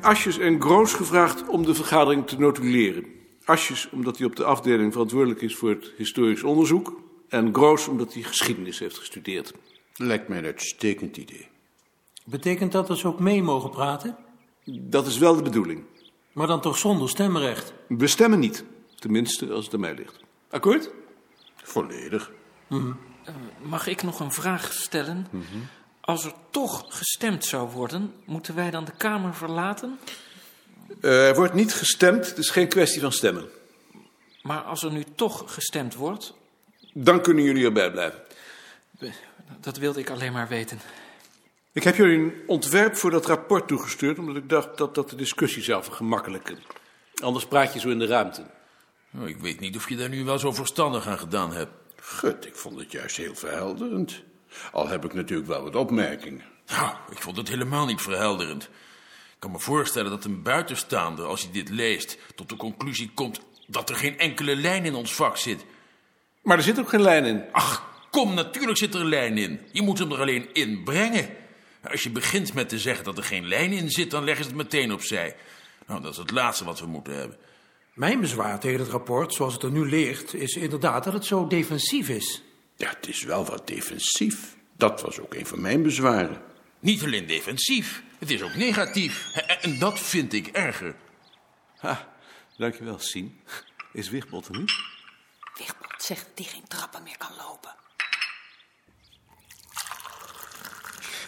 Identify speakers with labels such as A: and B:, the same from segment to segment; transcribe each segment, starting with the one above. A: Asjes en Groos gevraagd om de vergadering te notuleren. Asjes omdat hij op de afdeling verantwoordelijk is voor het historisch onderzoek. En Groos omdat hij geschiedenis heeft gestudeerd.
B: Lijkt mij een uitstekend idee.
C: Betekent dat dat ze ook mee mogen praten?
A: Dat is wel de bedoeling.
C: Maar dan toch zonder stemrecht?
A: We stemmen niet. Tenminste, als het aan mij ligt. Akkoord?
B: Volledig.
D: Mag ik nog een vraag stellen? Als er toch gestemd zou worden, moeten wij dan de Kamer verlaten?
A: Eh, er wordt niet gestemd, het is geen kwestie van stemmen.
D: Maar als er nu toch gestemd wordt,
A: Dan kunnen jullie erbij blijven.
D: dat wilde ik alleen maar weten.
A: Ik heb jullie een ontwerp voor dat rapport toegestuurd, omdat ik dacht dat dat de discussie zou vergemakkelijken. Anders praat je zo in de ruimte.
E: Nou, ik weet niet of je daar nu wel zo verstandig aan gedaan hebt.
B: Gut, ik vond het juist heel verhelderend. Al heb ik natuurlijk wel wat opmerkingen.
E: Nou, ik vond het helemaal niet verhelderend. Ik kan me voorstellen dat een buitenstaander, als hij dit leest, tot de conclusie komt dat er geen enkele lijn in ons vak zit.
A: Maar er zit ook geen lijn in.
E: Ach, kom, natuurlijk zit er een lijn in. Je moet hem er alleen in brengen. Als je begint met te zeggen dat er geen lijn in zit, dan leggen ze het meteen opzij. Nou, dat is het laatste wat we moeten hebben.
C: Mijn bezwaar tegen het rapport, zoals het er nu ligt, is inderdaad dat het zo defensief is.
B: Ja, het is wel wat defensief. Dat was ook een van mijn bezwaren.
E: Niet alleen defensief, het is ook negatief. En- En dat vind ik erger.
A: Ha, dankjewel, Sien. Is Wichtbold er niet?
F: Wichtbold zegt dat hij geen trappen meer kan lopen.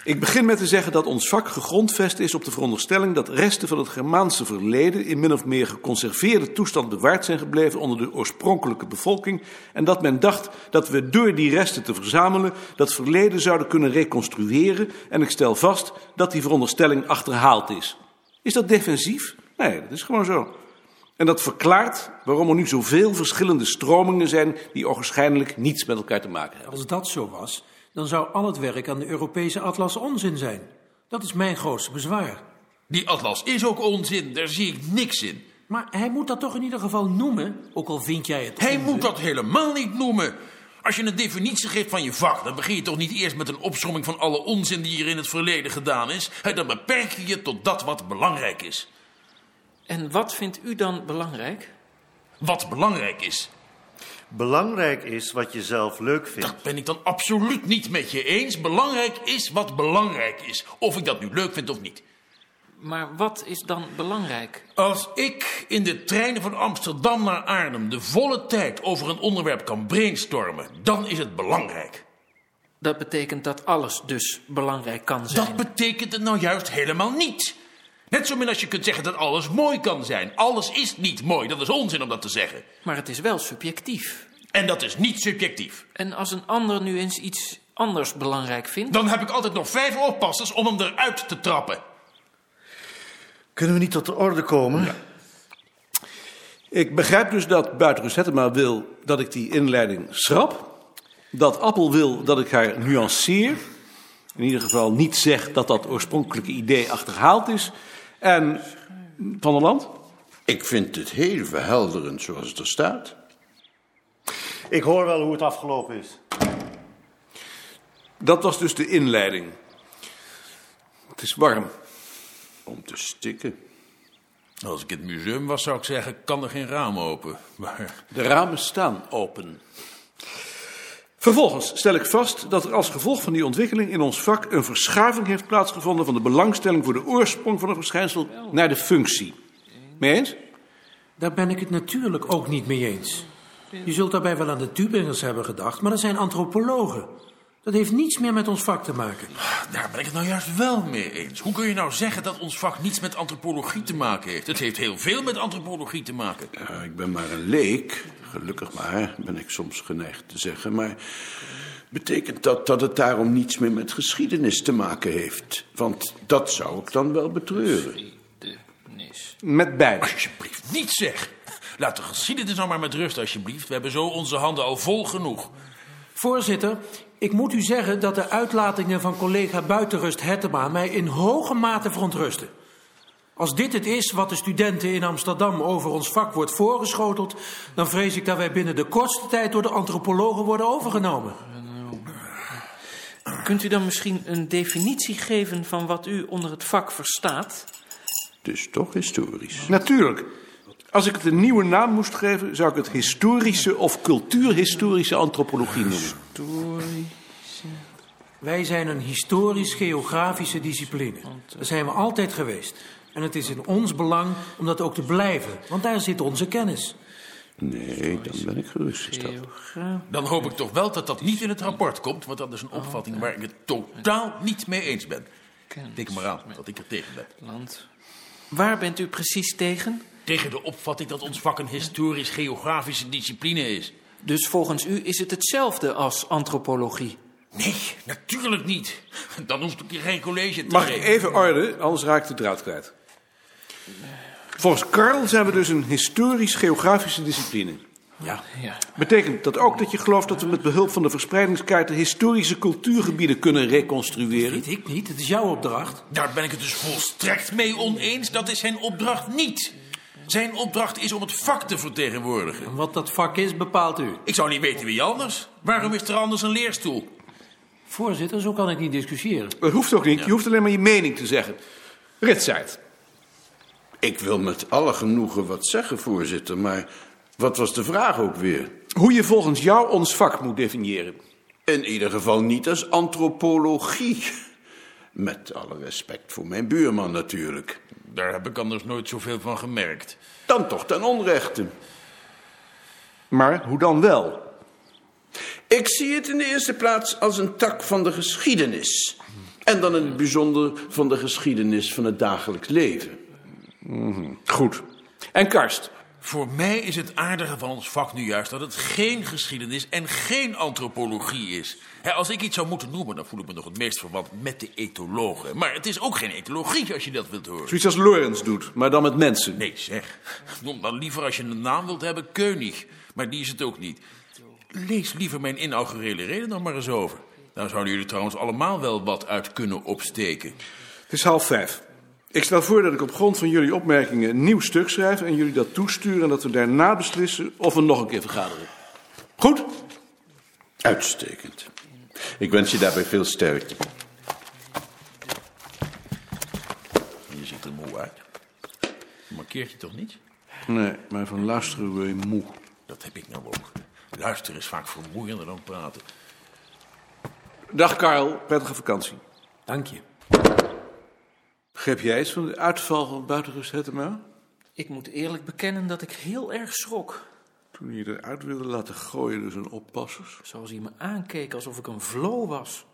A: Ik begin met te zeggen dat ons vak gegrondvest is op de veronderstelling dat resten van het Germaanse verleden in min of meer geconserveerde toestand bewaard zijn gebleven onder de oorspronkelijke bevolking en dat men dacht dat we door die resten te verzamelen dat verleden zouden kunnen reconstrueren en ik stel vast dat die veronderstelling achterhaald is. Is dat defensief? Nee, dat is gewoon zo. En dat verklaart waarom er nu zoveel verschillende stromingen zijn die ogenschijnlijk niets met elkaar te maken hebben.
C: Als dat zo was, dan zou al het werk aan de Europese atlas onzin zijn. Dat is mijn grootste bezwaar.
E: Die atlas is ook onzin, daar zie ik niks in.
C: Maar hij moet dat toch in ieder geval noemen, ook al vind jij het
E: Hij
C: onzin.
E: moet dat helemaal niet noemen. Als je een definitie geeft van je vak, dan begin je toch niet eerst met een opsomming van alle onzin die hier in het verleden gedaan is. Hè, Dan beperk je je tot dat wat belangrijk is.
D: En wat vindt u dan belangrijk?
E: Wat belangrijk is,
G: Belangrijk is wat je zelf leuk vindt.
E: dat ben ik dan absoluut niet met je eens. Belangrijk is wat belangrijk is, of ik dat nu leuk vind of niet.
D: Maar wat is dan belangrijk?
E: Als ik in de treinen van Amsterdam naar Arnhem de volle tijd over een onderwerp kan brainstormen, dan is het belangrijk.
D: Dat betekent dat alles dus belangrijk kan zijn.
E: Dat betekent het nou juist helemaal niet. Net zo min als je kunt zeggen dat alles mooi kan zijn. Alles is niet mooi, dat is onzin om dat te zeggen.
D: Maar het is wel subjectief.
E: En dat is niet subjectief.
D: En als een ander nu eens iets anders belangrijk vindt,
E: Dan heb ik altijd nog vijf oppassers om hem eruit te trappen.
G: Kunnen we niet tot de orde komen?
A: Ik begrijp dus dat Buitenrust Hettema wil dat ik die inleiding schrap. Dat Appel wil dat ik haar nuanceer. In ieder geval niet zeg dat dat oorspronkelijke idee achterhaald is. En Van der Land?
B: Ik vind het heel verhelderend zoals het er staat.
G: Ik hoor wel hoe het afgelopen is.
A: Dat was dus de inleiding. Het is warm.
B: Om te stikken.
E: Als ik in het museum was, zou ik zeggen, kan er geen raam open. Maar
A: De ramen staan open. Vervolgens stel ik vast dat er als gevolg van die ontwikkeling in ons vak een verschuiving heeft plaatsgevonden van de belangstelling voor de oorsprong van een verschijnsel naar de functie. Mee eens?
C: Daar ben ik het natuurlijk ook niet mee eens. Je zult daarbij wel aan de Tübingers hebben gedacht, maar dat zijn antropologen. Dat heeft niets meer met ons vak te maken.
E: daar ben ik het nou juist wel mee eens. Hoe kun je nou zeggen dat ons vak niets met antropologie te maken heeft? Het heeft heel veel met antropologie te maken.
B: Ja, ik ben maar een leek, gelukkig maar, ben ik soms geneigd te zeggen. Maar betekent dat dat het daarom niets meer met geschiedenis te maken heeft? Want dat zou ik dan wel betreuren.
A: Met beide.
E: Alsjeblieft, niet zeg. Laat de geschiedenis nou maar met rust, alsjeblieft. We hebben zo onze handen al vol genoeg.
C: Voorzitter, ik moet u zeggen dat de uitlatingen van collega Buitenrust Hettema mij in hoge mate verontrusten. Als dit het is wat de studenten in Amsterdam over ons vak wordt voorgeschoteld, dan vrees ik dat wij binnen de kortste tijd door de antropologen worden overgenomen.
D: kunt u dan misschien een definitie geven van wat u onder het vak verstaat?
B: Dus toch historisch.
A: Natuurlijk. Als ik het een nieuwe naam moest geven, zou ik het historische of cultuurhistorische antropologie noemen.
C: Wij zijn een historisch-geografische discipline. Daar zijn we altijd geweest. En het is in ons belang om dat ook te blijven, want daar zit onze kennis.
B: Nee, dan ben ik gerustgesteld.
E: Dan hoop ik toch wel dat dat niet in het rapport komt, want dat is een opvatting waar ik het totaal niet mee eens ben. Denk maar aan dat ik er tegen ben.
D: Land. Waar bent u precies tegen?
E: Tegen de opvatting dat ons vak een historisch-geografische discipline is.
D: Dus volgens u is het hetzelfde als antropologie.
E: Nee, natuurlijk niet. Dan hoef ik hier geen college te
A: Mag ik
E: geven.
A: even orde, anders raak ik de draad kwijt. Volgens Karl zijn we dus een historisch-geografische discipline.
D: Ja.
A: Betekent dat ook dat je gelooft dat we met behulp van de verspreidingskaarten historische cultuurgebieden kunnen reconstrueren?
C: Weet ik niet, het is jouw
A: e-
C: opdracht.
E: Daar ben ik het dus volstrekt mee oneens. Dat is zijn opdracht niet. Zijn opdracht is om het vak te vertegenwoordigen.
C: En wat dat vak is, bepaalt u.
E: Ik zou niet weten wie anders. Waarom is er anders een leerstoel?
C: Voorzitter, zo kan ik niet discussiëren.
A: Dat hoeft ook niet, je hoeft alleen maar je mening te zeggen. Ritsaard.
B: Ik wil met alle genoegen wat zeggen, voorzitter, maar wat was de vraag ook weer?
A: Hoe je volgens jou ons vak moet definiëren.
B: In ieder geval niet als antropologie. Met alle respect voor mijn buurman natuurlijk.
E: Daar heb ik anders nooit zoveel van gemerkt.
B: Dan toch ten onrechte.
A: Maar hoe dan wel?
B: Ik zie het in de eerste plaats als een tak van de geschiedenis. En dan in het bijzonder van de geschiedenis van het dagelijks leven.
A: Goed. En Karst?
E: Voor mij is het aardige van ons vak nu juist dat het geen geschiedenis en geen antropologie is. Hè, als ik iets zou moeten noemen, dan voel ik me nog het meest verwant met de etologen. Maar het is ook geen etologie als je dat wilt horen.
A: Zoiets als Lorenz doet, maar dan met mensen.
E: Nee, zeg. Noem dan liever als je een naam wilt hebben König. Maar die is het ook niet. Lees liever mijn inaugurele reden dan maar eens over. Daar zouden jullie trouwens allemaal wel wat uit kunnen opsteken.
A: Het is half vijf. Ik stel voor dat ik op grond van jullie opmerkingen een nieuw stuk schrijf en jullie dat toesturen en dat we daarna beslissen of we nog een keer vergaderen. Goed?
B: Uitstekend. Ik wens je daarbij veel sterkte.
E: Je ziet er moe uit. Markeert je toch niet?
A: Nee, maar van luisteren word je moe.
E: Dat heb ik nou ook. Luisteren is vaak vermoeiender dan praten.
A: Dag Karel, prettige vakantie.
C: Dank je.
A: Greep jij iets van de uitval van buitenrust Hettema?
D: Ik moet eerlijk bekennen dat ik heel erg schrok.
A: Toen je eruit wilde laten gooien door zijn oppassers.
D: Zoals hij me aankeek alsof ik een vlo was.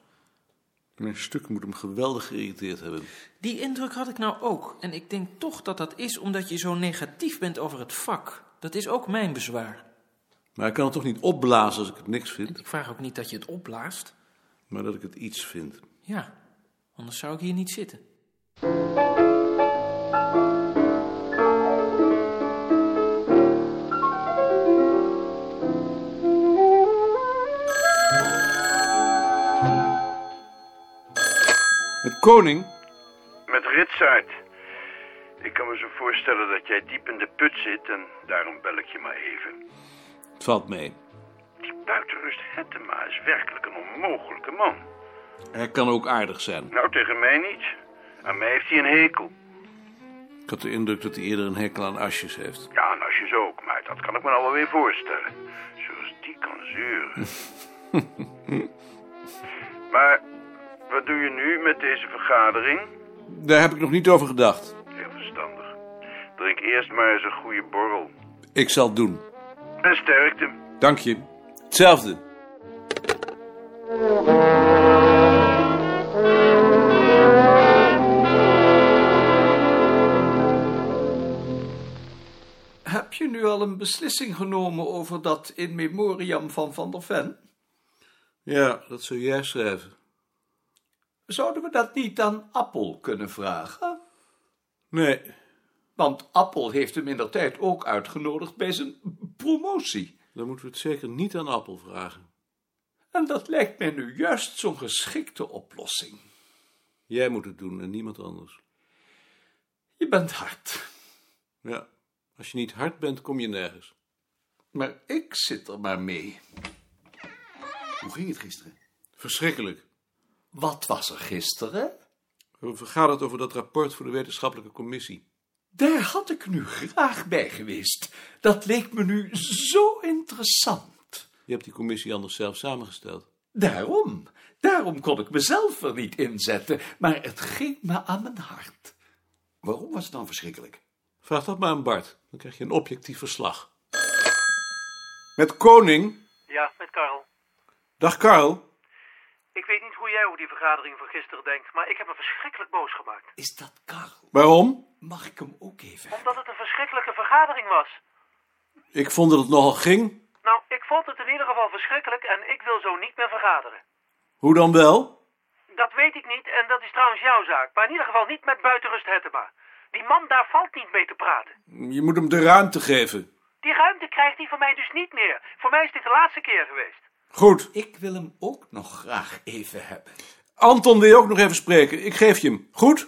A: Mijn stuk moet hem geweldig geïrriteerd hebben.
D: Die indruk had ik nou ook. En ik denk toch dat dat is omdat je zo negatief bent over het vak. Dat is ook mijn bezwaar.
A: Maar ik kan het toch niet opblazen als ik het niks vind,
D: Ik vraag ook niet dat je het opblaast.
A: maar dat ik het iets vind.
D: Ja, anders zou ik hier niet zitten.
A: Met koning?
H: Met Ritsaard. Ik kan me zo voorstellen dat jij diep in de put zit en daarom bel ik je maar even.
A: Het valt mee.
H: Die buitenrust Hettema is werkelijk een onmogelijke man.
A: Hij kan ook aardig zijn.
H: Nou, tegen mij niet. Aan mij heeft hij een hekel.
A: Ik had de indruk dat hij eerder een hekel aan asjes heeft.
H: Ja, en als je zo ook, maar dat kan ik me nou wel weer voorstellen. Zoals die kan zeuren. maar wat doe je nu met deze vergadering?
A: Daar heb ik nog niet over gedacht.
H: Heel verstandig. Drink eerst maar eens een goede borrel.
A: Ik zal het doen.
H: En sterkte.
A: Dank je. Hetzelfde.
I: Heb je nu al een beslissing genomen over dat in memoriam van Van der Ven?
A: Ja, dat zou jij schrijven.
I: Zouden we dat niet aan Appel kunnen vragen?
A: Nee,
I: Want Appel heeft hem in der tijd ook uitgenodigd bij zijn promotie.
A: dan moeten we het zeker niet aan Appel vragen.
I: En dat lijkt mij nu juist zo'n geschikte oplossing.
A: Jij moet het doen en niemand anders.
I: Je bent hard,
A: Ja, als je niet hard bent, kom je nergens.
I: maar ik zit er maar mee.
B: Hoe ging het gisteren?
A: Verschrikkelijk.
I: Wat was er gisteren?
A: We hebben vergaderd over dat rapport voor de wetenschappelijke commissie.
I: Daar had ik nu graag bij geweest. Dat leek me nu zo interessant.
A: Je hebt die commissie anders zelf samengesteld.
I: Daarom, daarom kon ik mezelf er niet inzetten, maar het ging me aan mijn hart.
B: Waarom was het dan verschrikkelijk?
A: Vraag dat maar aan Bart. Dan krijg je een objectief verslag. Met Koning.
J: Ja, met Karel.
A: Dag Karl.
J: Ik weet niet hoe jij over die vergadering van gisteren denkt, maar ik heb me verschrikkelijk boos gemaakt.
I: Is dat Karel?
A: Waarom?
I: Mag ik hem ook even?
J: Omdat het een verschrikkelijke vergadering was.
A: Ik vond dat het nogal ging.
J: Nou, ik vond het in ieder geval verschrikkelijk en ik wil zo niet meer vergaderen.
A: Hoe dan wel?
J: Dat weet ik niet en dat is trouwens jouw zaak, maar in ieder geval niet met buitenrust Hettema. Die man daar valt niet mee te praten.
A: Je moet hem de ruimte geven.
J: Die ruimte krijgt hij van mij dus niet meer. Voor mij is dit de laatste keer geweest.
A: Goed.
I: Ik wil hem ook nog graag even hebben.
A: Anton wil je ook nog even spreken. Ik geef je hem. Goed?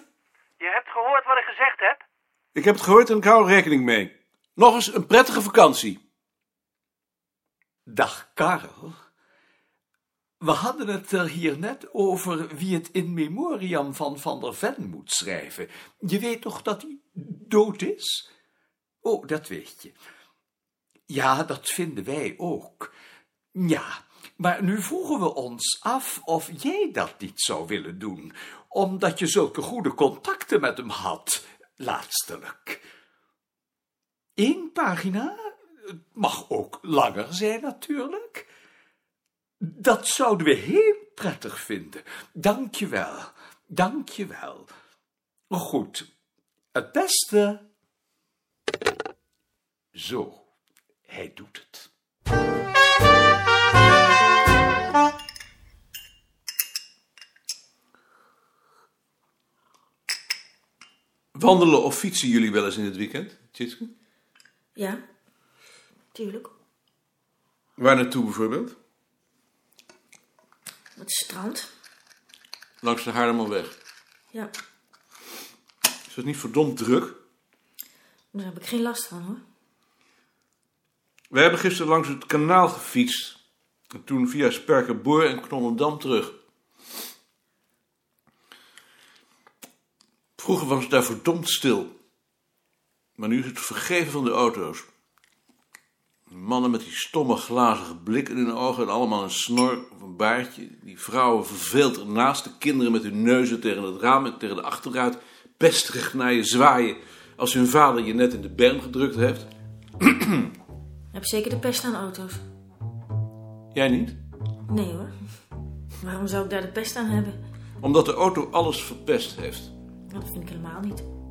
J: Je hebt gehoord wat ik gezegd heb?
A: Ik heb het gehoord en ik hou er rekening mee. Nog eens een prettige vakantie.
I: Dag Karel. We hadden het er hier net over wie het in memoriam van Van der Ven moet schrijven. Je weet toch dat hij dood is? Oh, dat weet je. Ja, dat vinden wij ook. Ja, maar nu vroegen we ons af of jij dat niet zou willen doen, omdat je zulke goede contacten met hem had, laatstelijk. Eén pagina? Het mag ook langer zijn, natuurlijk. Dat zouden we heel prettig vinden. Dank je wel, dank je wel. Goed, het beste. Zo, hij doet het.
A: Wandelen of fietsen jullie wel eens in het weekend, Tjitske?
K: Ja, tuurlijk.
A: Waar naartoe bijvoorbeeld?
K: Op het strand.
A: Langs de Haarlemmerweg.
K: Ja,
A: Is dat niet verdomd druk?
K: daar heb ik geen last van hoor.
A: We hebben gisteren langs het kanaal gefietst. En toen via Sperkerboer en Knollendam terug. Vroeger was het daar verdomd stil. Maar nu is het vergeven van de auto's. Die Mannen met die stomme glazige blikken in hun ogen en allemaal een snor of een baardje. Die vrouwen verveeld ernaast, de kinderen met hun neuzen tegen het raam en tegen de achteruit. Pesterig naar je zwaaien als hun vader je net in de berm gedrukt heeft.
K: Ik heb zeker de pest aan auto's.
A: Jij niet?
K: Nee hoor. Waarom zou ik daar de pest aan hebben?
A: Omdat de auto alles verpest heeft.
K: Dat vind ik helemaal niet.